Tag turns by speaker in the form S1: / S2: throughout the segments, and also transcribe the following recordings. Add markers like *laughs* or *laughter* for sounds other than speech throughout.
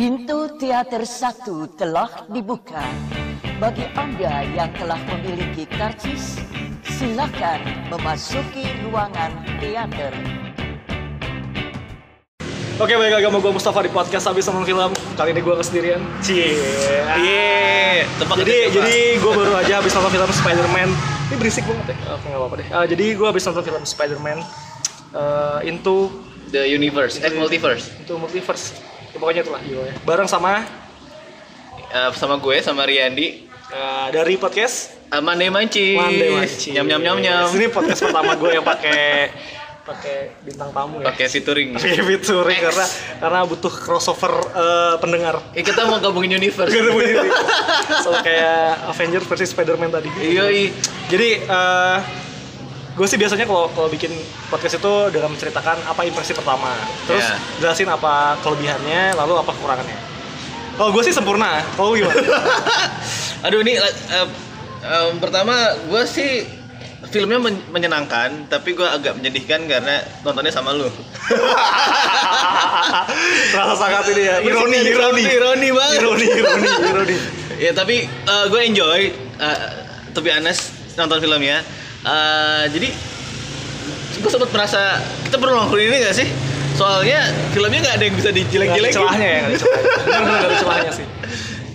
S1: Pintu teater satu telah dibuka. Bagi Anda yang telah memiliki karcis, silakan memasuki ruangan teater.
S2: Oke baik lagi sama gue Mustafa di podcast Habis Nonton Film Kali ini gue kesendirian Cie
S3: Iya, tebak
S2: Jadi
S3: aja, tebak.
S2: jadi gue baru aja habis nonton film Spider-Man Ini berisik banget ya, oke gak apa-apa deh Eh, Jadi gue habis nonton film Spider-Man eh, Into
S3: The Universe, eh Multiverse.
S2: Into Multiverse Ya, Pokoknya itulah gitu ya Bareng sama
S3: Eh, sama gue sama Riyandi.
S2: eh, dari podcast
S3: Amande Manci.
S2: Mande Manci
S3: Nyam nyam nyam nyam.
S2: Ini podcast pertama gue yang pakai pakai bintang tamu ya
S3: Pakai
S2: *laughs*
S3: featuring.
S2: Pakai featuring
S3: Next.
S2: karena karena butuh crossover eh, pendengar
S3: Eh kita mau gabungin universe.
S2: *laughs* so kayak Avenger versus Spider-Man tadi
S3: Iya,
S2: *laughs*
S3: iya.
S2: Jadi eh gue sih biasanya kalau kalau bikin podcast itu dengan menceritakan apa impresi pertama, terus
S3: Iya.
S2: jelasin apa kelebihannya, lalu apa kekurangannya. Kalau gue sih sempurna, kalau lu *laughs* gimana?
S3: Aduh ini eh, eh, em, pertama gue sih filmnya men- menyenangkan, tapi gue agak menyedihkan karena nontonnya sama lu.
S2: Terasa sangat ini ya,
S3: Iya,
S2: ironi,
S3: sih,
S2: ironi,
S3: ironi banget.
S2: ironi, ironi, ironi.
S3: ya tapi gue enjoy eh, to be honest nonton filmnya Eh, jadi gue sempat merasa kita perlu ngelakuin ini gak sih soalnya filmnya nggak ada yang bisa
S2: Jelek-jelek
S3: dijelek-jelekin
S2: celahnya ya, nggak ada celahnya. Bener-bener nggak ada celahnya sih.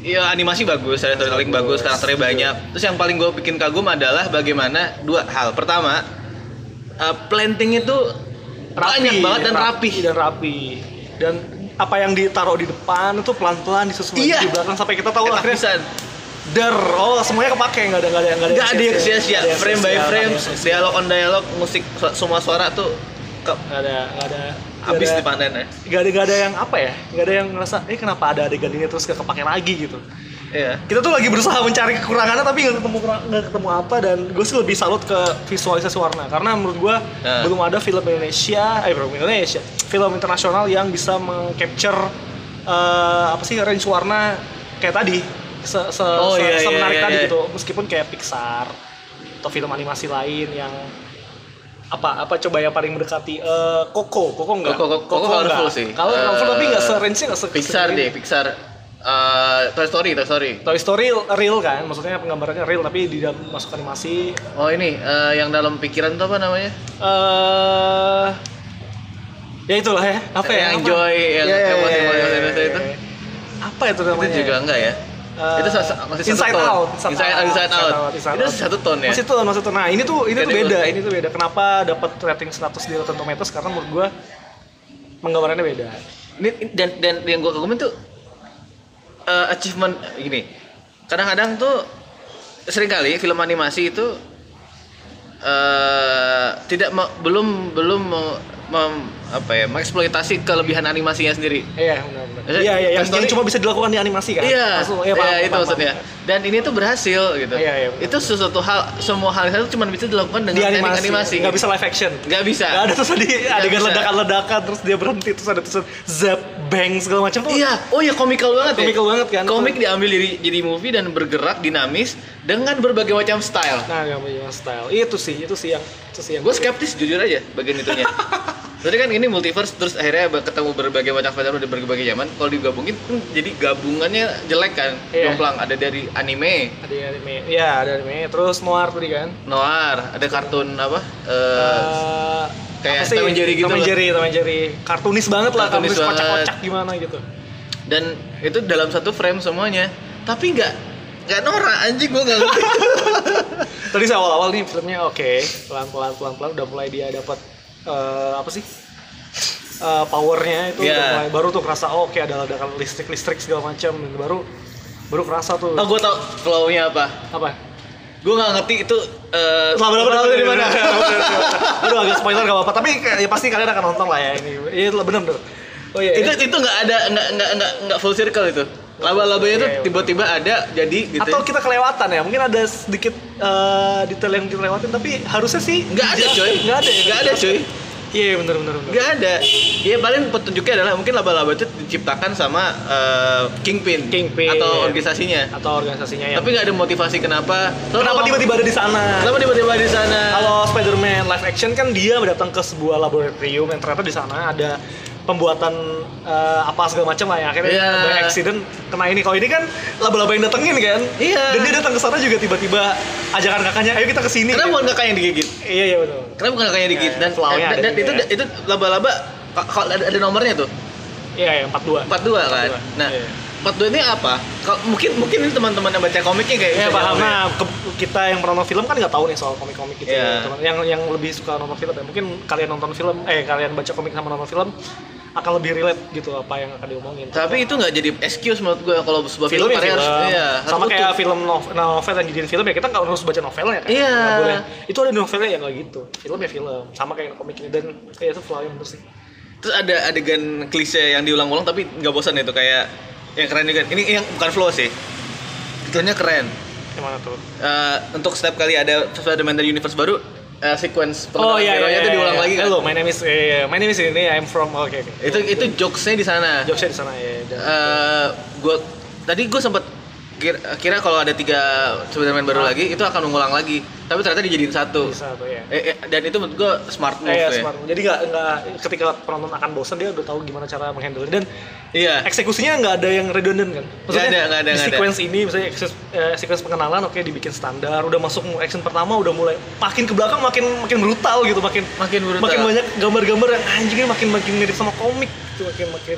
S3: Iya animasi bagus, storytelling bagus, karakternya banyak. Terus yang paling gue bikin kagum adalah bagaimana dua hal. Pertama, eh, planting itu banyak banget dan rapi.
S2: dan rapi. Dan apa yang ditaruh di depan itu pelan-pelan disesuaikan
S3: Iya.
S2: di belakang sampai kita tahu Oh,
S3: Enak
S2: akhirnya
S3: pisan.
S2: Der, oh semuanya kepake nggak ada nggak ada nggak
S3: Nggak ada yang
S2: Nggak
S3: sia-sia.
S2: ada yang
S3: Frame
S2: sia-sia,
S3: by frame,
S2: nggak ada yang sia-sia.
S3: dialog on dialog, musik, su- semua suara tuh ke-
S2: Nggak ada nggak ada nggak
S3: habis
S2: ada-
S3: dipanen ya.
S2: nggak ada nggak ada yang apa ya nggak ada yang ngerasa eh kenapa ada adegan ini terus gak kepake lagi gitu
S3: Iya.
S2: kita tuh lagi berusaha mencari kekurangannya tapi nggak ketemu kurang- nggak ketemu apa dan gue sih lebih salut ke visualisasi warna karena menurut gue
S3: Nah.
S2: belum ada film Indonesia eh belum Indonesia film internasional yang bisa mengcapture eh, apa sih range warna kayak tadi se se,
S3: Oh,
S2: se-
S3: iya, iya,
S2: semenarik
S3: iya,
S2: tadi
S3: iya.
S2: gitu meskipun kayak Pixar atau film animasi lain yang apa apa coba yang paling mendekati eh, Coco Coco enggak
S3: Koko koko colorful sih. Eh,
S2: kalau colorful tapi enggak se range nya se
S3: Pixar
S2: se-
S3: deh, Pixar. Eh, Toy Story, Toy Story.
S2: Toy Story real, real kan, maksudnya penggambarannya real tapi di dalam masuk animasi.
S3: Oh ini eh, yang dalam pikiran tuh apa namanya?
S2: eh ya itulah ya. Apa ya?
S3: Yang
S2: apa?
S3: joy, yang
S2: Ya, ya, ya, ya,
S3: emosi- emosi-
S2: ya,
S3: emosi
S2: ya,
S3: itu.
S2: ya. Apa itu namanya?
S3: Itu juga enggak ya?
S2: Eh,
S3: itu sa- masih satu
S2: inside
S3: tone.
S2: out,
S3: inside, out, inside out.
S2: Inside
S3: itu
S2: Out.
S3: satu tone ya.
S2: Masih tone, masih tone. Nah, ini tuh ini tuh
S3: Jadi
S2: beda,
S3: menurut-
S2: ini tuh beda. Kenapa dapat rating 100 di Rotten Tomatoes? Karena menurut gua penggambarannya beda.
S3: Ini ini- dan dan yang gue kagumin tuh eh, achievement gini. Kadang-kadang tuh sering kali film animasi itu eh tidak me- belum belum me- mem- apa ya mengeksploitasi kelebihan animasinya sendiri.
S2: Iya, benar-benar.
S3: Maksudnya,
S2: Iya, iya, yang,
S3: Toy Story-
S2: yang cuma bisa dilakukan di animasi kan?
S3: Iya,
S2: Langsung,
S3: iya,
S2: paham,
S3: itu
S2: paham,
S3: maksudnya.
S2: paham.
S3: Dan ini tuh berhasil gitu.
S2: Iya, iya, benar,
S3: itu sesuatu hal, semua hal itu cuma bisa dilakukan
S2: Di
S3: dengan teknik
S2: animasi,
S3: animasi.
S2: nggak bisa live action.
S3: Nggak bisa.
S2: Gak ada terus tadi adegan
S3: bisa.
S2: ledakan-ledakan terus dia berhenti terus ada terus zap bang segala macam tuh.
S3: Iya, oh ya komikal banget ya.
S2: Komikal banget kan?
S3: Komik diambil jadi jadi movie dan bergerak dinamis dengan berbagai macam style.
S2: Nah, nggak punya style. Itu sih, itu sih yang itu sih yang
S3: Gue skeptis jujur aja bagian
S2: *laughs*
S3: itunya. Berarti kan ini multiverse terus akhirnya ba- ketemu berbagai macam film dari berbagai zaman. Kalau digabungin hmm, jadi gabungannya jelek kan.
S2: Iya.
S3: Jomplang ada dari anime,
S2: ada di anime. Iya, ada anime. Terus noir tadi kan.
S3: noir, ada kartun apa? eh,
S2: Eh,
S3: kayak
S2: apa sih?
S3: Tom and Jerry gitu
S2: Tom and
S3: loh.
S2: Jerry, Tom and Jerry. Kartunis banget lah,
S3: Kartunis
S2: kartunis
S3: banget.
S2: kocak-kocak gimana gitu.
S3: dan itu dalam satu frame semuanya. Tapi nggak nggak norak anjing gue nggak ngerti.
S2: Tadi saya awal-awal nih filmnya oke, pelan-pelan pelan-pelan udah mulai dia dapat eh, apa sih? Eh, powernya itu udah
S3: Iya.
S2: mulai baru tuh kerasa oh, oke ada ledakan listrik-listrik segala macam dan baru baru kerasa tuh.
S3: *laughs* oh gue tau flow-nya apa.
S2: Apa?
S3: Gue nggak ngerti itu. eh,
S2: Lama lama
S3: flow-nya
S2: dari mana? *laughs* Aduh agak spoiler gak apa-apa, tapi kayak- ya pasti kalian akan nonton lah ya ini. Iya benar benar. Oh iya.
S3: itu
S2: iya.
S3: itu nggak ada nggak nggak nggak nggak full circle itu laba-labanya itu
S2: Iya, iya,
S3: tiba-tiba ada jadi gitu
S2: Atau kita kelewatan ya, mungkin ada sedikit eh, detail yang kita lewatin tapi harusnya sih
S3: nggak ada coy
S2: Nggak ada ya?
S3: nggak ada coy
S2: Iya iya, benar benar benar.
S3: nggak ada ya paling petunjuknya adalah mungkin laba-laba itu diciptakan sama eh, kingpin Iya.
S2: Kingpin.
S3: atau organisasinya
S2: Atau organisasinya ya, yang
S3: tapi nggak ada motivasi kenapa Soalnya
S2: Kenapa
S3: kalau-
S2: tiba-tiba ada di sana?
S3: kenapa tiba-tiba di sana
S2: Kalau Spider-Man live action kan dia datang ke sebuah laboratorium yang ternyata di sana ada pembuatan eh, apa segala macam lah ya akhirnya
S3: Iya.
S2: ada accident kena ini kalau ini kan laba-laba yang datengin kan
S3: Iya.
S2: dan dia datang ke sana juga tiba-tiba ajakan kakaknya ayo kita ke sini
S3: Karena bukan kakak yang digigit.
S2: iya iya betul
S3: Karena bukan kakak yang digigit
S2: Ya,
S3: dan
S2: pulaunya
S3: dan,
S2: ada
S3: dan
S2: juga
S3: itu
S2: ya.
S3: itu laba-laba ka- kalau ada, ada nomornya tuh.
S2: iya iya empat dua
S3: 42 kan.
S2: 42,
S3: Nah,
S2: iya.
S3: 42 ini apa? Kalau mungkin mungkin ini teman-teman yang baca komiknya kayak
S2: Iya
S3: bisa
S2: paham.
S3: jawab ya.
S2: Nah, ke- kita yang menonton film kan nggak tahu nih soal komik-komik gitu.
S3: Iya.
S2: ya, teman. Yang yang lebih suka nonton film ya. Mungkin kalian nonton film, eh kalian baca komik sama nonton film akan lebih relate gitu apa yang akan diomongin.
S3: Tapi itu nggak jadi excuse menurut gue kalau sebuah film,
S2: ya
S3: karya harus iya,
S2: sama
S3: harus
S2: kayak
S3: utuh.
S2: film nov- novel yang jadiin film ya kita nggak harus baca novelnya kan.
S3: Iya.
S2: Nggak boleh. Itu ada novelnya ya nggak gitu. Film ya film. Sama kayak komik ini dan kayak itu flow yang bener sih.
S3: Terus ada adegan klise yang diulang-ulang tapi nggak bosan itu kayak yang keren juga. Ini yang bukan flow sih. Itunya keren.
S2: Gimana tuh?
S3: Eh, untuk setiap kali ada Spider-Man dari universe baru, eh, sequence
S2: Oh, iya,
S3: pengenalan hero-nya itu diulang lagi kan.
S2: Hello, my name is eh, my name is ini I'm from oh, oke oke.
S3: Itu itu jokesnya di sana.
S2: jokesnya di sana ya. dan-
S3: eh gua tadi gue sempat kira, kira kalau ada tiga Spider-Man baru lagi itu akan mengulang lagi tapi ternyata dijadiin satu
S2: Bisa tuh ya.
S3: eh, eh, dan itu menurut gue smart move
S2: Iya,
S3: ya
S2: smart. Jadi nggak nggak ketika penonton akan bosan dia udah tahu gimana cara menghandle dan
S3: iya
S2: eksekusinya nggak ada yang redundant kan. Maksudnya
S3: Nggak ada, nggak ada,
S2: di
S3: nggak ada.
S2: sequence ini misalnya ekses- eh, sequence pengenalan oke dibikin standar, udah masuk action pertama udah mulai makin ke belakang makin makin brutal gitu, makin
S3: Makin brutal.
S2: Makin banyak gambar-gambar yang anjingnya makin makin mirip sama komik gitu, makin makin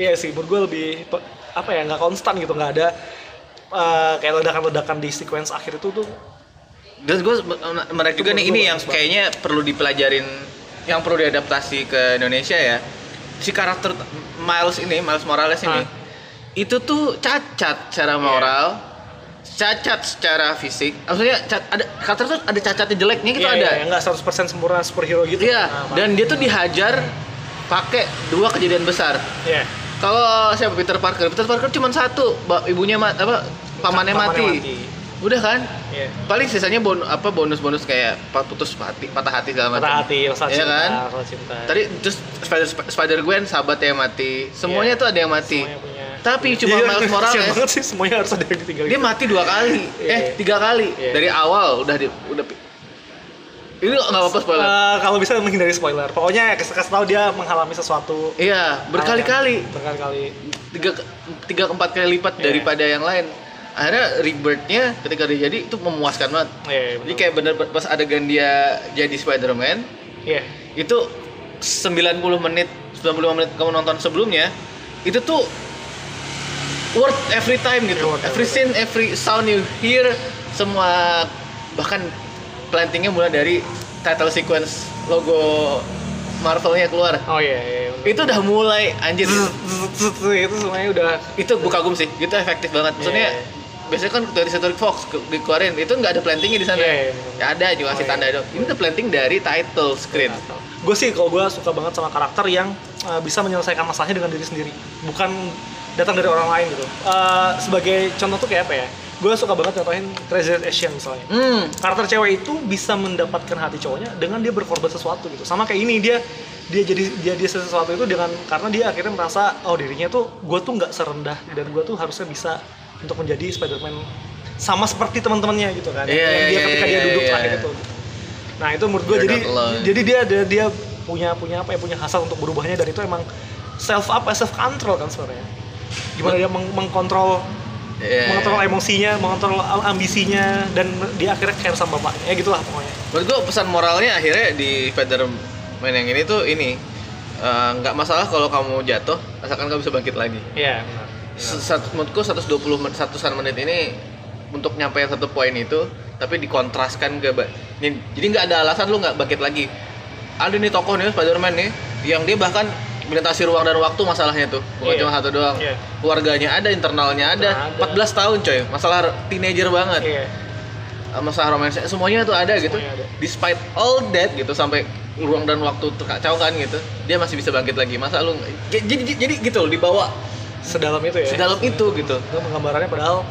S2: iya sih menurut gue lebih pe- apa ya nggak konstan gitu, nggak ada eh, kayak ledakan-ledakan di sequence akhir itu tuh
S3: dan gue mereka juga nih ini yang kayaknya perlu dipelajarin yang perlu diadaptasi ke Indonesia ya si karakter Miles ini Miles Morales ini
S2: Ah.
S3: itu tuh cacat secara
S2: Iya.
S3: moral cacat secara fisik maksudnya ca- ada karakter tuh ada cacatnya jeleknya gitu
S2: iya,
S3: ada
S2: iya, nggak 100% sempurna superhero gitu.
S3: Iya,
S2: Nah,
S3: dan dia tuh dihajar pakai dua kejadian besar.
S2: iya.
S3: Kalau siapa Peter Parker, Peter Parker cuma satu, ba- ibunya ma- apa pamannya, mati. Udah kan?
S2: Iya.
S3: Paling sisanya bon apa bonus-bonus kayak pa- putus hati, patah hati segala macam.
S2: Patah hati, rasa
S3: Iya
S2: cinta,
S3: kan?
S2: rasa cinta.
S3: Tadi terus Spider Spider Gwen sahabatnya yang mati. Semuanya
S2: Iya.
S3: tuh ada yang mati.
S2: Semuanya punya-
S3: Tapi cuma
S2: *laughs* Iya,
S3: Miles
S2: kasihan
S3: Morales
S2: banget sih semuanya harus ada yang ditinggalin.
S3: dia mati dua kali.
S2: Iya.
S3: Eh, tiga kali.
S2: Iya.
S3: Dari awal udah di, udah pi- Ini nggak apa-apa spoiler.
S2: Eh, kalau bisa menghindari spoiler. Pokoknya ya, kasih kasih tahu dia mengalami sesuatu
S3: iya, berkali-kali.
S2: berkali-kali.
S3: tiga tiga ke empat kali
S2: Iya.
S3: lipat daripada yang lain akhirnya rebirthnya ketika dia jadi itu memuaskan banget
S2: Iya, iya,
S3: jadi
S2: betul.
S3: kayak bener pas adegan dia jadi Spider-Man
S2: Iya.
S3: itu 90 menit 95 menit kamu nonton sebelumnya itu tuh worth every time gitu
S2: Iya, worth
S3: every
S2: every
S3: scene every sound you hear semua bahkan plantingnya mulai dari title sequence logo Marvelnya keluar
S2: Oh iya, iya. betul.
S3: itu udah mulai anjir
S2: Zzz, zzz, zzz, zzz, itu semuanya udah
S3: itu gue kagum sih itu efektif banget maksudnya
S2: Iya.
S3: biasanya kan dari Satorik Fox ke- dikeluarin itu nggak ada plantingnya di sana
S2: Iya, iya,
S3: ya ada juga kasih
S2: Oh, iya.
S3: tanda dong ini tuh planting dari title screen
S2: Gue iya, sih kalau gue suka banget sama karakter yang eh, bisa menyelesaikan masalahnya dengan diri sendiri, bukan datang dari orang lain gitu. Eh, sebagai contoh tuh kayak apa ya? Gue suka banget contohin Crazy Rich Asian misalnya.
S3: hmm
S2: karakter cewek itu bisa mendapatkan hati cowoknya dengan dia berkorban sesuatu gitu sama kayak ini dia dia jadi dia dia sesuatu itu dengan karena dia akhirnya merasa oh dirinya tuh gue tuh nggak serendah dan gue tuh harusnya bisa untuk menjadi Spider-Man sama seperti teman-temannya gitu kan
S3: Iya,
S2: Yang
S3: iya,
S2: dia
S3: iya,
S2: ketika
S3: iya,
S2: dia duduk
S3: iya.
S2: terakhir itu nah itu menurut gue
S3: You're
S2: jadi
S3: not alone.
S2: jadi dia dia dia punya punya apa ya punya hasrat untuk berubahnya dan itu emang self up self control kan sebenarnya gimana dia meng- mengkontrol
S3: Iya.
S2: mengontrol emosinya, mengontrol am- ambisinya, dan dia akhirnya care sama bapaknya, ya gitulah pokoknya.
S3: menurut gue pesan moralnya akhirnya di Spider-Man yang ini tuh ini eh, nggak masalah kalau kamu jatuh asalkan kamu bisa bangkit lagi
S2: Iya.
S3: Sat, menurutku 120 menit, satusan menit ini untuk nyampein satu poin itu tapi dikontraskan ke ba- ini- jadi nggak ada alasan lu nggak bangkit lagi ada nih tokoh nih Spiderman nih yang dia bahkan melintasi ruang dan waktu masalahnya tuh bukan
S2: Iya.
S3: cuma satu doang
S2: Iya.
S3: keluarganya ada internalnya ada
S2: Internal ada.
S3: 14 tahun coy masalah teenager banget
S2: Iya.
S3: masalah romansa semuanya tuh ada gitu
S2: Semuanya ada.
S3: despite all that gitu sampai ruang dan waktu terkacau kan gitu dia masih bisa bangkit lagi masa lu nggak- jadi jadi- jadi gitu loh dibawa
S2: Sedalam itu ya.
S3: sedalam itu gitu
S2: Itu penggambarannya padahal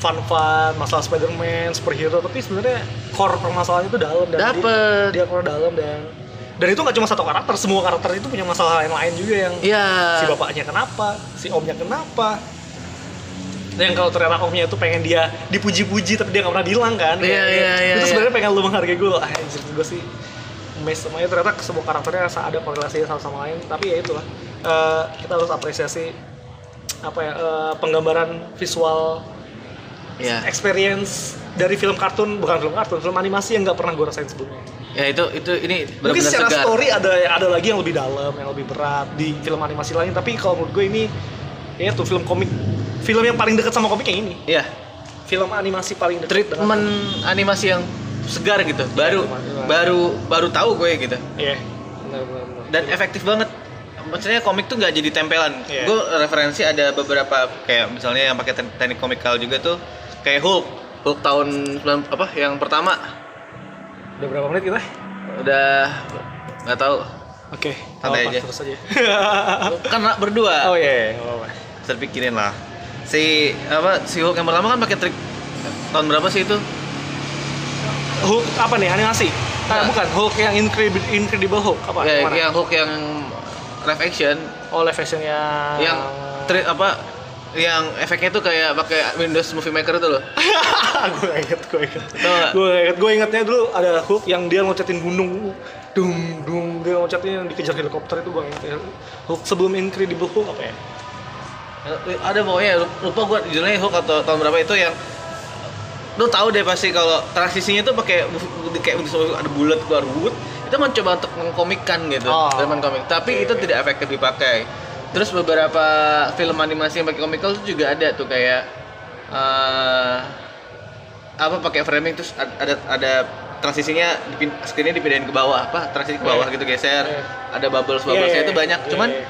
S2: fun-fun, masalah Spider-Man, superhero, tapi sebenarnya core permasalahannya itu dalam dan
S3: Dapet.
S2: dia, dia core dalam dan dan itu nggak cuma satu karakter, semua karakter itu punya masalah yang lain juga yang
S3: Iya.
S2: si bapaknya kenapa, si omnya kenapa. Nah, Yang kalau ternyata omnya itu pengen dia dipuji-puji tapi dia nggak pernah bilang kan.
S3: Iya,
S2: Kayak-
S3: iya, iya,
S2: Itu
S3: iya.
S2: sebenarnya pengen lu menghargai gue loh. Ah, Anjir gue sih mes semuanya ternyata semua karakternya rasa ada korelasinya satu sama lain, tapi ya itulah eh, kita harus apresiasi apa ya eh, penggambaran visual
S3: ya
S2: experience dari film kartun bukan film kartun film animasi yang nggak pernah gue rasain sebelumnya
S3: ya itu itu ini
S2: mungkin
S3: benar-benar
S2: secara
S3: segar
S2: story ada ada lagi yang lebih dalam yang lebih berat di film animasi lain tapi kalau menurut gue ini ya tuh film komik film yang paling dekat sama komik yang ini
S3: ya
S2: film animasi paling dekat dengan-
S3: treatment animasi yang segar gitu baru
S2: treatment.
S3: baru baru tahu gue gitu
S2: iya benar benar benar.
S3: dan efektif banget maksudnya komik tuh nggak jadi tempelan
S2: Iya.
S3: gue referensi ada beberapa kayak misalnya yang pakai te- teknik komikal juga tuh kayak Hulk Hulk tahun 90 apa yang pertama
S2: udah berapa menit kita
S3: udah nggak tahu
S2: oke nggak
S3: Santai
S2: apa-apa,
S3: aja.
S2: terus aja *laughs*
S3: karena Kan berdua
S2: oh iya iya, nggak apa-apa
S3: terpikirin lah si apa si Hulk yang pertama kan pakai trik tahun berapa sih itu
S2: Hulk apa nih animasi nah,
S3: Nah.
S2: bukan Hulk yang Incredible, Incredible Hulk apa
S3: ya,
S2: Yang mana?
S3: yang Hulk yang live action
S2: oh live actionnya
S3: yang
S2: Ah.
S3: tri- apa yang efeknya tuh kayak pakai Windows Movie Maker itu loh
S2: *laughs* gue inget gue inget
S3: Tau nggak?
S2: gue inget gue ingetnya dulu ada Hulk yang dia loncatin gunung dung dung dia loncatin yang dikejar helikopter itu gue inget ya Hulk sebelum Incredible Hulk apa ya
S3: Eh, ada pokoknya lupa gua judulnya Hulk atau tahun berapa itu yang lu tahu deh pasti kalau transisinya tuh pakai bu- kayak bu- ada bulat keluar wut itu mencoba untuk mengkomikkan gitu
S2: Oh.
S3: elemen komik tapi itu tidak efektif dipakai terus beberapa film animasi yang pakai komikal tuh juga ada tuh kayak eh, apa pakai framing terus ad- ada ada transisinya dipin- screennya dipindahin ke bawah apa transisi ke bawah
S2: Iya.
S3: gitu geser
S2: Iya.
S3: ada
S2: Iya,
S3: bubbles bubblesnya
S2: iya,
S3: itu
S2: iya.
S3: banyak
S2: Iya,
S3: cuman
S2: iya.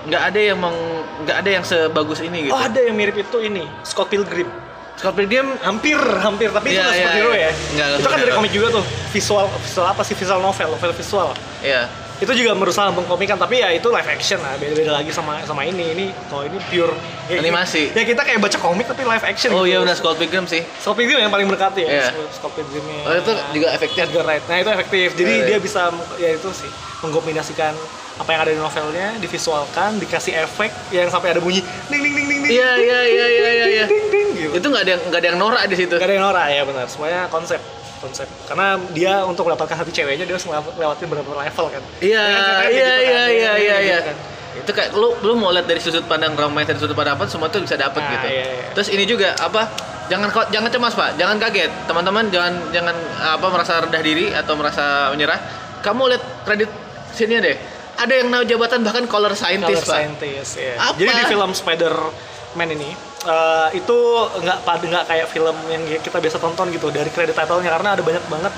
S3: nggak ada yang meng- nggak ada yang sebagus ini gitu.
S2: oh ada yang mirip itu ini Scott Pilgrim
S3: Scott Pilgrim
S2: hampir hampir tapi itu
S3: Iya,
S2: nggak
S3: iya,
S2: superhero
S3: iya.
S2: ya
S3: Nggak,
S2: itu kan dari
S3: superhero.
S2: komik juga tuh visual visual apa sih visual novel novel visual
S3: ya
S2: itu juga berusaha mengkomikan tapi ya itu live action lah beda beda lagi sama sama ini ini kalau ini pure ya,
S3: Animasi.
S2: ya kita kayak baca komik tapi live action
S3: Oh
S2: gitu.
S3: iya benar Scott Pilgrim sih.
S2: Scott Pilgrim yang paling berkati
S3: Iya.
S2: ya Scott Pilgrimnya
S3: Oh itu juga efektif.
S2: Edgar Wright. Nah itu efektif. Jadi
S3: Iya, iya.
S2: dia bisa ya itu sih mengkombinasikan apa yang ada di novelnya, divisualkan, dikasih efek yang sampai ada bunyi ding ding ding ding ding.
S3: Iya iya iya iya iya. iya.
S2: Ding ding gitu.
S3: Itu nggak ada yang nggak ada yang norak di situ.
S2: Gak ada yang norak ya benar. Semuanya konsep konsep. Karena dia untuk mendapatkan hati ceweknya dia harus ngelew- lewatin beberapa level kan.
S3: Iya
S2: Ya kan, ceritanya kayak
S3: iya
S2: gitu kan.
S3: iya
S2: Ya
S3: iya
S2: kan,
S3: iya
S2: kayak
S3: iya.
S2: gitu kan.
S3: Itu kayak lu lu mau lihat dari sudut pandang romantis dari sudut pandang apa semua tuh bisa dapet
S2: Nah,
S3: gitu.
S2: iya, iya.
S3: Terus ini juga apa? Jangan kau- jangan cemas pak, jangan kaget teman-teman jangan jangan apa merasa rendah diri atau merasa menyerah. Kamu lihat kredit sini deh. Ada yang naik jabatan bahkan color scientist
S2: Color
S3: pak.
S2: scientist, ya.
S3: Apa?
S2: Jadi di film Spider-Man ini eh, itu nggak pad- nggak kayak film yang kita biasa tonton gitu dari kredit title-nya karena ada banyak banget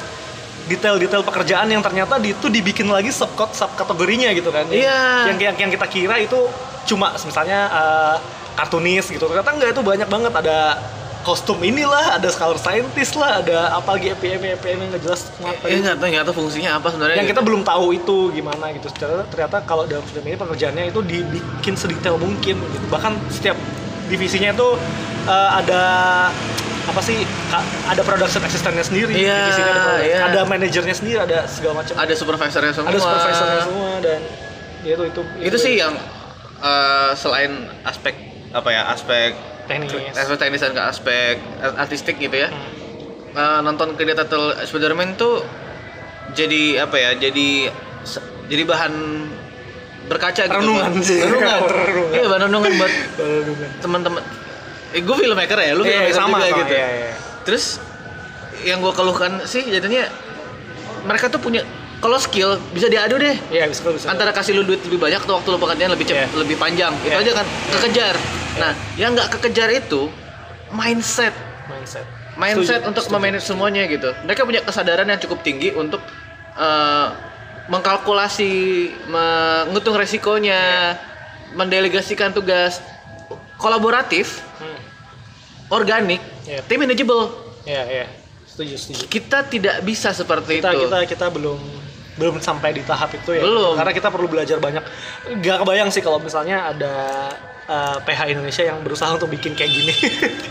S2: detail-detail pekerjaan yang ternyata di- itu dibikin lagi sub subkategorinya gitu kan. Yang-
S3: Iya.
S2: Yang, yang yang kita kira itu cuma misalnya eh, kartunis gitu. Ternyata nggak itu banyak banget ada kostum inilah, ada color scientist lah, ada apa lagi EPM EPM yang nggak jelas
S3: Iya
S2: ngapain
S3: ya, nggak tahu nggak tahu fungsinya apa sebenarnya.
S2: yang kita belum tahu itu gimana gitu ternyata, ternyata kalau dalam film ini pekerjaannya itu dibikin sedetail mungkin gitu. bahkan setiap divisinya itu eh, ada apa sih ka- ada production assistantnya sendiri
S3: Iya,
S2: divisinya ada, production-
S3: iya.
S2: ada manajernya sendiri ada segala macam
S3: ada supervisornya semua.
S2: ada supervisornya semua dan ya itu itu
S3: Itu sih yang eh, selain aspek apa ya aspek
S2: teknis
S3: aspek teknis dan ke aspek artistik gitu ya.
S2: Hmm.
S3: Eh, nonton Credit Turtle Spider-Man tuh jadi apa ya? Jadi se- jadi bahan berkaca gitu.
S2: Renungan
S3: buat-
S2: sih.
S3: Renungan.
S2: *laughs* Renungan.
S3: Iya, bahan renungan buat
S2: Baru-
S3: teman-teman. Eh, gue filmmaker ya, lu
S2: kan. Iya,
S3: filmmaker
S2: sama,
S3: juga
S2: sama,
S3: gitu.
S2: iya, iya.
S3: Terus yang gue keluhkan sih jadinya mereka tuh punya kalau skill bisa diadu deh
S2: Iya, bisa bisa.
S3: antara kasih lu duit lebih banyak atau waktu lu pekerjaan lebih
S2: Iya.
S3: cepat lebih panjang itu
S2: Iya.
S3: aja kan kekejar nah yang nggak kekejar itu mindset
S2: mindset.
S3: mindset
S2: Setuju,
S3: untuk
S2: setuju.
S3: memanage semuanya gitu mereka punya kesadaran yang cukup tinggi untuk eh, mengkalkulasi menghitung resikonya
S2: Iya.
S3: mendelegasikan tugas kolaboratif
S2: Hmm.
S3: organik
S2: Iya.
S3: tim manageable
S2: Iya, iya. Setuju, setuju.
S3: kita tidak bisa seperti
S2: kita
S3: itu
S2: kita kita belum belum sampai di tahap itu ya
S3: Belum.
S2: karena kita perlu belajar banyak nggak kebayang sih kalau misalnya ada eh, PH Indonesia yang berusaha untuk bikin kayak gini *laughs*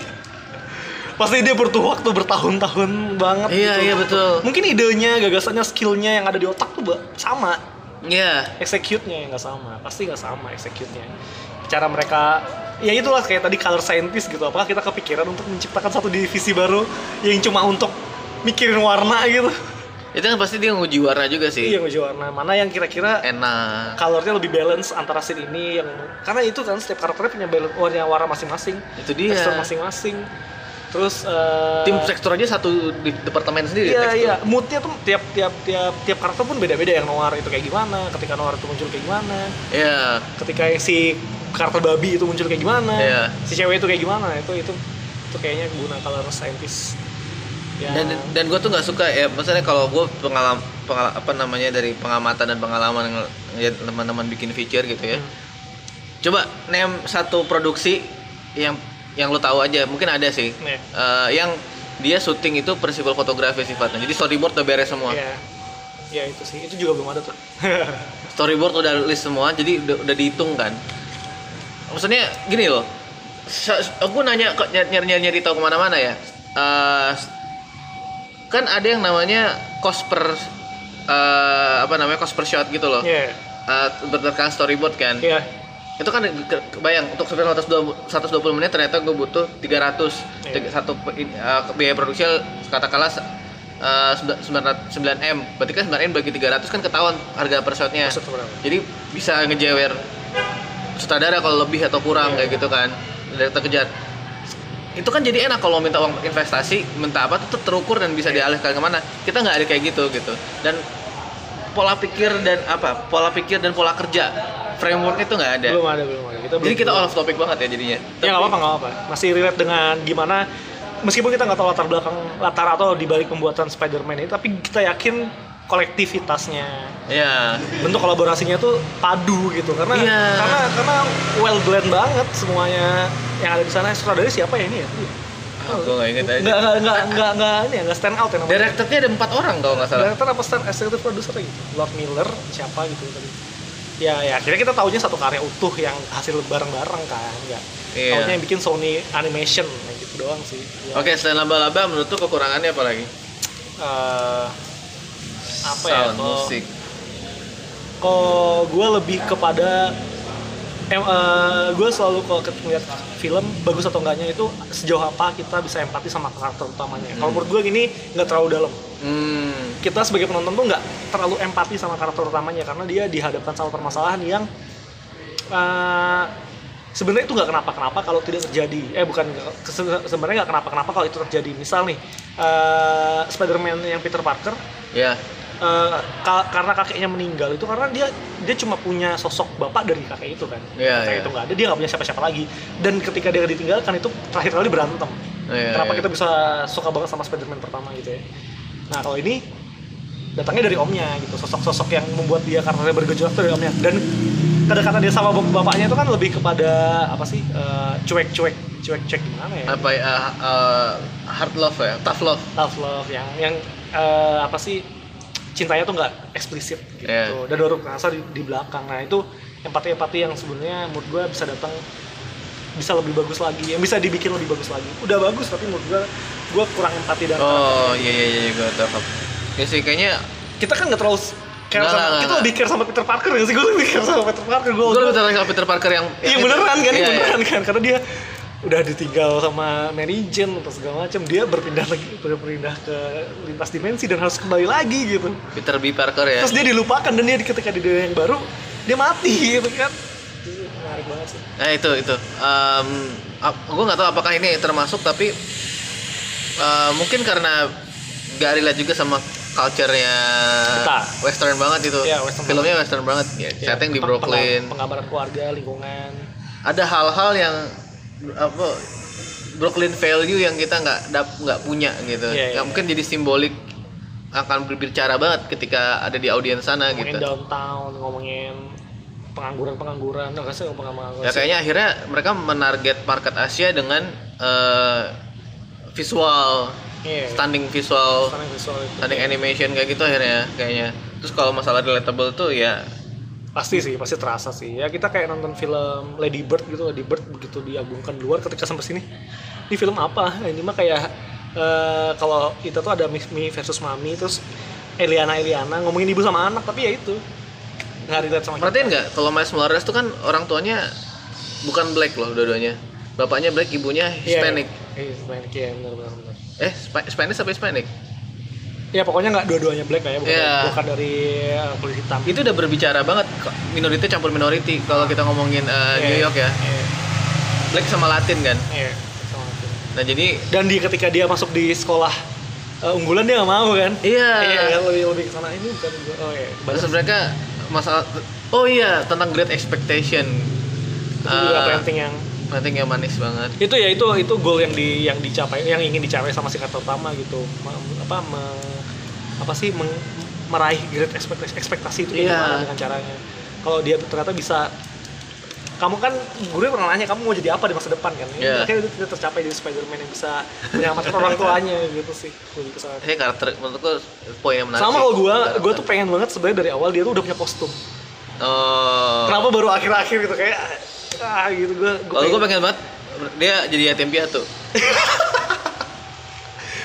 S2: pasti dia butuh waktu bertahun-tahun banget
S3: iya
S2: gitu.
S3: iya betul
S2: mungkin idenya gagasannya skillnya yang ada di otak tuh ba- sama
S3: iya
S2: execute-nya yang nggak sama pasti nggak sama execute-nya cara mereka ya itulah kayak tadi color scientist gitu apakah kita kepikiran untuk menciptakan satu divisi baru yang cuma untuk mikirin warna gitu
S3: itu kan pasti dia nguji warna juga
S2: Iya,
S3: sih
S2: nguji warna. Mana yang kira-kira
S3: enak
S2: colornya lebih balance antara scene ini yang karena itu kan setiap karakternya punya balance warna warna masing-masing,
S3: itu dia
S2: tekstur masing-masing. Terus eh,
S3: tim tekstur aja satu di departemen sendiri
S2: Iya
S3: tekstur.
S2: iya, moodnya tuh tiap tiap tiap tiap karakter pun beda-beda yang noir itu kayak gimana, ketika noir itu muncul kayak gimana,
S3: Iya,
S2: ketika yang si karakter babi itu muncul kayak gimana,
S3: Iya.
S2: si cewek itu kayak gimana, itu itu itu kayaknya guna color scientist. Ya,
S3: dan dan gue tuh nggak suka ya maksudnya kalau gue pengalam pengala- apa namanya dari pengamatan dan pengalaman ngel- ngeliat teman-teman bikin feature gitu
S2: Hmm.
S3: ya coba name satu produksi yang yang lo tahu aja mungkin ada sih
S2: Iya.
S3: Eh, yang dia syuting itu prinsipal fotografi sifatnya jadi storyboard udah beres semua
S2: ya, ya itu sih, itu juga belum ada tuh. *laughs*
S3: storyboard udah list semua jadi udah, udah dihitung kan maksudnya gini loh sa- aku nanya kok nyari nyari nyari tahu kemana-mana ya Eh, kan ada yang namanya cost per eh, apa namanya cost per shot gitu loh
S2: Iya,
S3: Eh, berdasarkan storyboard kan
S2: iya,
S3: itu kan ke- kebayang untuk sekitar 120 120 menit ternyata gue butuh 300
S2: Iya.
S3: Tiga- satu pe- in- uh, biaya produksi katakanlah se- uh, sembilan- 900 9M berarti kan 9M bagi 300 kan ketahuan harga per shotnya
S2: Maksud berapa?
S3: jadi bisa ngejewer sutradara kalau lebih atau kurang
S2: Iya.
S3: kayak gitu kan dari terkejar itu kan jadi enak kalau minta uang investasi minta apa tuh terukur dan bisa
S2: Iya.
S3: dialihkan kemana kita nggak ada kayak gitu gitu dan pola pikir dan apa pola pikir dan pola kerja framework itu nggak ada
S2: belum ada belum ada. Ya. Kita
S3: jadi
S2: belum-
S3: kita all of topic banget ya jadinya
S2: Ya nggak apa-apa nggak apa-apa. Masih relate dengan gimana meskipun kita nggak tahu latar belakang latar atau dibalik pembuatan Spider-Man ini, tapi kita yakin kolektivitasnya
S3: ya
S2: bentuk kolaborasinya tuh padu gitu karena
S3: Iya.
S2: karena karena well blend banget semuanya yang ada di sana sutradara siapa ya ini ya
S3: gue nggak inget aja
S2: nggak nggak nggak nggak nggak ini ya nggak stand out ya namanya
S3: directornya ada empat orang kalau nggak salah
S2: director apa stand executive producer gitu Lord Miller siapa gitu tadi ya ya akhirnya kita taunya satu karya utuh yang hasil bareng-bareng kan nggak
S3: Iya.
S2: taunya yang bikin Sony Animation kayak gitu doang sih Ya.
S3: oke selain laba-laba menurut tuh kekurangannya apa lagi
S2: Eh, apa ya
S3: sound
S2: kalau-
S3: musik
S2: kok gue lebih kepada em, gue selalu kalau ket- ngeliat film bagus atau enggaknya itu sejauh apa kita bisa empati sama karakter utamanya. Kalau menurut gue gini nggak terlalu dalam.
S3: hmm
S2: Kita sebagai penonton tuh nggak terlalu empati sama karakter utamanya karena dia dihadapkan sama permasalahan yang eh, sebenarnya itu nggak kenapa-kenapa kalau tidak terjadi. Eh bukan nggak- se- sebenarnya nggak kenapa-kenapa kalau itu terjadi. Misal nih eh, Spider-Man yang Peter Parker
S3: ya
S2: Eh, ka- karena kakeknya meninggal itu karena dia dia cuma punya sosok bapak dari kakek itu kan
S3: Iya,
S2: kakek
S3: iya.
S2: itu nggak ada dia nggak punya siapa-siapa lagi dan ketika dia ditinggalkan itu terakhir kali berantem
S3: Iya,
S2: kenapa
S3: iya.
S2: kita bisa suka banget sama Spider-Man pertama gitu ya nah kalau ini datangnya dari omnya gitu sosok-sosok yang membuat dia karakternya bergejolak itu dari omnya dan kedekatan dia sama bap- bapaknya itu kan lebih kepada apa sih eh, cuek-cuek cuek-cuek gimana ya
S3: apa ya eh, eh, hard love ya tough love
S2: love love yang yang eh, apa sih cintanya tuh nggak eksplisit gitu
S3: Iya.
S2: dan baru kerasa di, di belakang nah itu empati empati yang sebenarnya menurut gue bisa datang bisa lebih bagus lagi yang bisa dibikin lebih bagus lagi udah bagus tapi menurut gue gue kurang empati dan
S3: Oh iya iya iya gue tangkap. Ya sih kayaknya
S2: kita kan nggak terlalu care
S3: Nggak,
S2: sama-
S3: nggak,
S2: kita
S3: nggak.
S2: lebih care sama Peter Parker nggak sih gue lebih care sama Peter Parker gue
S3: gue lebih tertarik sama Peter Parker yang
S2: iya
S3: yang-
S2: beneran kan
S3: Iya,
S2: iya,
S3: iya.
S2: beneran kan karena dia udah ditinggal sama Mary Jane atau segala macam dia berpindah lagi berpindah ke lintas dimensi dan harus kembali lagi gitu
S3: Peter B Parker ya.
S2: terus dia dilupakan dan dia ketika di dunia yang baru dia mati gitu kan menarik banget sih
S3: Nah itu itu. Em gue nggak tahu apakah ini termasuk tapi eh, mungkin karena gak relate juga sama culture-nya
S2: Kita.
S3: western banget itu.
S2: Iya, western Iya,
S3: Filmnya western banget. Ya, setting di
S2: peng-
S3: Brooklyn. Gitu.
S2: pengga- penggambaran keluarga lingkungan
S3: Ada hal-hal yang apa Brooklyn value yang kita nggak dap- nggak punya gitu.
S2: Iya, iya, iya.
S3: yang mungkin jadi simbolik akan berbicara banget ketika ada di audiens sana
S2: ngomongin
S3: gitu.
S2: downtown ngomongin pengangguran pengangguran nggak sih ngomong pengangguran
S3: Ya kayaknya akhirnya mereka menarget market Asia dengan eh, visual
S2: Iya.
S3: stunning visual
S2: Karena visual itu
S3: stunning animation kayak gitu akhirnya kayaknya. Terus kalau masalah relatable tuh ya
S2: pasti sih pasti terasa sih ya kita kayak nonton film Lady Bird gitu Lady Bird begitu diagungkan di luar ketika sampai sini ini film apa ini mah kayak eh, kalau kita tuh ada Mimi versus Mami terus Eliana Eliana ngomongin ibu sama anak tapi ya itu nggak relate sama kita.
S3: perhatiin nggak kalau Miles Morales tuh kan orang tuanya bukan black loh dua-duanya. Bapaknya black, ibunya
S2: Iya,
S3: Hispanic.
S2: Iya, Hispanic ya benar benar benar.
S3: Eh, Spa- Spanish apa Hispanic?
S2: ya pokoknya nggak dua-duanya black lah ya bukan,
S3: Iya.
S2: bukan dari eh, kulit hitam
S3: itu udah berbicara banget kok, minority campur minority kalau kita ngomongin
S2: Iya,
S3: uh, New York ya
S2: iya,
S3: black sama Latin kan
S2: iya, sama itu.
S3: nah jadi
S2: dan di ketika dia masuk di sekolah eh, unggulan dia nggak mau kan
S3: Iya.
S2: lebih lebih ke sana ini bukan gua. oh iya
S3: terus mereka masalah oh iya tentang great expectation
S2: itu juga
S3: Ah,
S2: planting yang
S3: planting yang manis banget
S2: itu ya itu itu goal yang di yang dicapai yang ingin dicapai sama singkat pertama gitu Me- apa me- apa sih meng- meraih great expect- ekspektasi itu
S3: Iya.
S2: gimana dengan caranya kalau dia ternyata bisa kamu kan gue pernah nanya kamu mau jadi apa di masa depan kan
S3: Iya.
S2: Ya, akhirnya itu tidak tercapai jadi Spider-Man yang bisa menyelamatkan orang tuanya gitu sih lebih ke sana.
S3: Saya karakter menurutku poin yang menarik.
S2: sama
S3: sih.
S2: kalau gue
S3: Karakter.
S2: gue tuh pengen banget sebenarnya dari awal dia tuh udah punya kostum
S3: Oh.
S2: kenapa baru akhir-akhir gitu kayak ah gitu gue
S3: Kalau gue pengen banget dia jadi yatim piatu.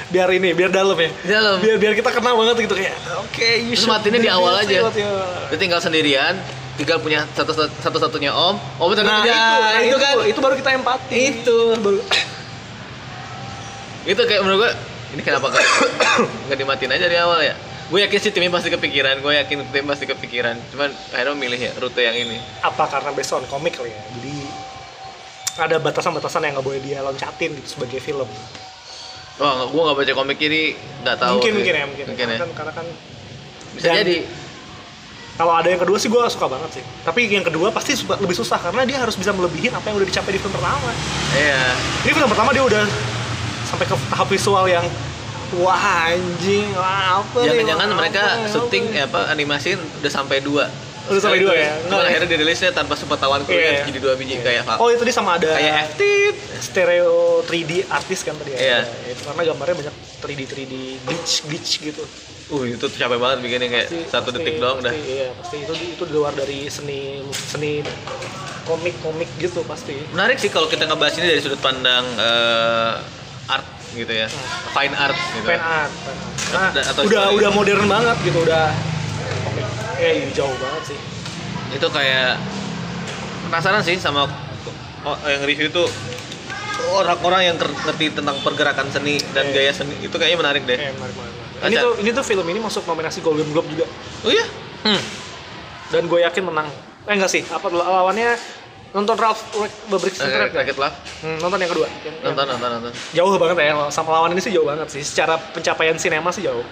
S2: biar ini biar dalam ya
S3: Di Dalam.
S2: biar biar kita kena banget gitu kayak oke you
S3: Terus
S2: should
S3: matinya di
S2: do
S3: awal
S2: this,
S3: aja.
S2: what you-
S3: Dia tinggal sendirian, tinggal punya satu satu satunya om. Om itu
S2: nah,
S3: kerja.
S2: itu, nah,
S3: itu, kan.
S2: itu baru kita empati
S3: Itu.
S2: baru *clears throat*
S3: Itu Gitu, kayak menurut gue ini kenapa *coughs* nggak nggak dimatiin aja dari awal ya? Gue yakin sih timnya pasti kepikiran, gue yakin tim pasti kepikiran. Cuman akhirnya milih ya rute yang ini.
S2: apa karena based on komik kali ya jadi ada batasan-batasan yang nggak boleh dia loncatin gitu sebagai film
S3: Wah, gue nggak baca komik ini, nggak tahu.
S2: mungkin
S3: sih.
S2: mungkin ya mungkin,
S3: Mungkin ya.
S2: Karena, kan, karena kan
S3: Bisa
S2: Dan-
S3: jadi.
S2: kalau ada yang kedua sih gue suka banget sih tapi yang kedua pasti suka- lebih susah karena dia harus bisa melebihin apa yang udah dicapai di film pertama
S3: Iya.
S2: ini film pertama dia udah sampai ke tahap visual yang wah anjing wah apa nih,
S3: Jangan-jangan
S2: wah,
S3: mereka
S2: apa nih,
S3: syuting
S2: apa nih.
S3: ya apa animasi udah sampai dua.
S2: Udah sampai dua ya?
S3: Cuman
S2: Enggak.
S3: akhirnya dirilisnya tanpa sepengetahuan
S2: Iya,
S3: kuliah
S2: iya.
S3: jadi dua biji kayak apa?
S2: Oh itu dia sama ada
S3: Kayak
S2: tit, stereo 3D artis kan tadi
S3: Iya.
S2: ya. Itu karena gambarnya banyak 3D 3D glitch glitch gitu.
S3: Uh itu tuh capek banget bikinnya kayak
S2: Pasti-
S3: satu
S2: pasti-
S3: detik doang
S2: pasti,
S3: dah.
S2: Iya pasti itu itu di luar dari seni seni komik komik gitu pasti.
S3: Menarik sih kalau kita ngebahas ini dari sudut pandang eh, art gitu
S2: Iya.
S3: ya, fine art gitu.
S2: Fan art. fan art. Nah,
S3: Ada- atau
S2: udah
S3: story.
S2: udah modern banget gitu udah. komik. Eh jauh banget sih.
S3: Itu kayak penasaran sih sama ko- Oh, yang review tuh orang-orang yang ter- ngerti tentang pergerakan seni dan
S2: Iya.
S3: gaya seni itu kayaknya menarik deh.
S2: Eh, menarik, menarik, menarik. Ini
S3: Aca.
S2: tuh ini tuh film ini masuk nominasi Golden Globe juga.
S3: Oh iya,
S2: Dan gue yakin menang. Eh enggak sih, apa lawannya nonton Ralph Breaks the Internet
S3: Rakyat
S2: ya?
S3: Rakyat lah.
S2: Hmm, nonton yang kedua. Yang- yang-
S3: Eh, Nonton, nonton, nonton.
S2: Jauh banget ya, sama lawan ini sih jauh banget sih. Secara pencapaian sinema sih jauh.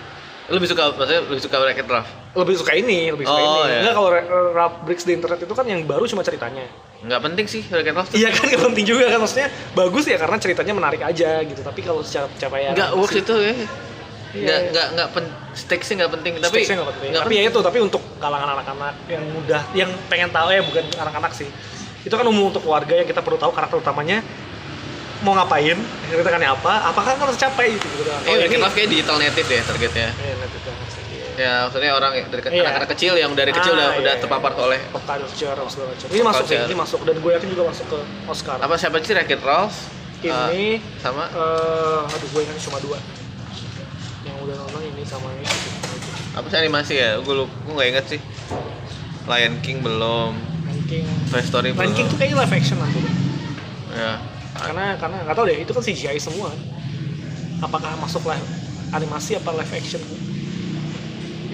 S3: Lu lebih suka, maksudnya lebih suka Rakyat Love?
S2: Lebih suka ini, lebih suka
S3: Oh,
S2: ini.
S3: iya.
S2: Enggak kalau Ra- Ralph Breaks the Internet itu kan yang baru cuma ceritanya.
S3: Nggak penting sih Rakyat Love.
S2: Iya kan, *laughs* gak penting juga kan. Maksudnya bagus ya karena ceritanya menarik aja gitu. Tapi kalau secara pencapaian...
S3: Nggak works itu ya. Nggak,
S2: iya.
S3: nggak, nggak, pen, stakesnya nggak penting. Tapi,
S2: Tapi, gak penting.
S3: nggak
S2: tapi ya itu, tapi untuk kalangan anak-anak yang muda, yang pengen tahu ya bukan anak-anak sih. Itu kan umum untuk keluarga yang kita perlu tahu karakter utamanya mau ngapain, ceritanya apa, apakah kan harus capai gitu. gitu.
S3: Eh,
S2: Kalau
S3: Rakyat
S2: ini-
S3: Love kayak digital native ya targetnya.
S2: Eh, nanti kita masuk, iya.
S3: Ya, maksudnya orang dari
S2: Iya.
S3: anak-anak kecil yang dari kecil
S2: Ah,
S3: udah,
S2: iya,
S3: udah
S2: iya.
S3: terpapar oleh
S2: pop culture apa segala macam. Ini masuk sih,
S3: culture.
S2: ini masuk dan gue yakin juga masuk ke Oscar.
S3: apa siapa sih Rakyat Love? Eh,
S2: Ini
S3: sama
S2: eh aduh gue ingat cuma dua. Yang udah nonton ini sama ini.
S3: apa sih animasi ya? Gue lupa, gue nggak inget sih. Lion King belum,
S2: Ranking
S3: Toy Story belum.
S2: Ranking tuh kayaknya live action nanti.
S3: Ya.
S2: Karena karena nggak tahu deh itu kan CGI semua. Apakah masuk live animasi apa live action?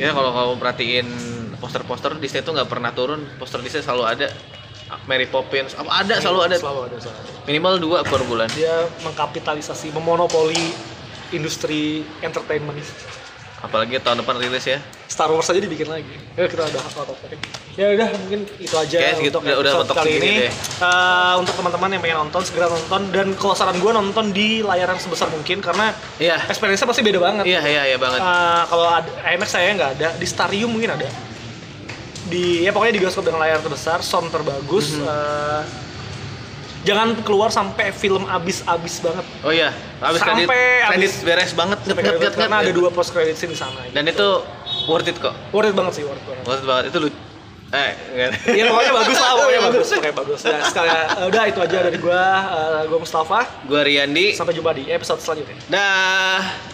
S3: Ya kalau kamu perhatiin poster-poster Disney tuh nggak pernah turun, poster Disney selalu ada. Mary Poppins, apa ada Iya, selalu ada.
S2: Selalu ada. Selalu ada.
S3: Minimal dua per bulan.
S2: Dia mengkapitalisasi, memonopoli industri entertainment.
S3: Apalagi tahun depan rilis ya.
S2: Star Wars aja dibikin lagi. Ya kita udah hafal topik. Ya udah mungkin itu aja
S3: Kayaknya segitu, udah- udah
S2: episode
S3: mentok
S2: kali
S3: segini
S2: ini.
S3: deh.
S2: Eh, untuk teman-teman yang pengen nonton segera nonton dan kalau saran gue nonton di layar yang sebesar mungkin karena
S3: Iya.
S2: experience-nya pasti beda banget.
S3: Iya, iya, iya banget.
S2: Eh, kalau ada- IMAX saya nggak ada, di Starium mungkin ada. Di ya pokoknya di bioskop dengan layar terbesar, sound terbagus. eh, jangan keluar sampai film abis-abis banget.
S3: Oh iya, habis
S2: Sampai
S3: kredit, kredit
S2: habis.
S3: beres banget. Ngep,
S2: Sampai
S3: ngep,
S2: kredit,
S3: ngep,
S2: karena
S3: ngep.
S2: ada dua post credit scene di sana.
S3: Dan itu worth it kok.
S2: worth it banget sih worth it. *laughs* banget.
S3: Worth it banget. Itu lucu. Eh, enggak.
S2: Iya pokoknya bagus lah, pokoknya bagus,
S3: Bagus.
S2: pokoknya bagus. Nah, sekali, eh, udah itu aja dari gua, eh, gua Mustafa.
S3: Gua Riyandi.
S2: Sampai jumpa di episode selanjutnya.
S3: Dah.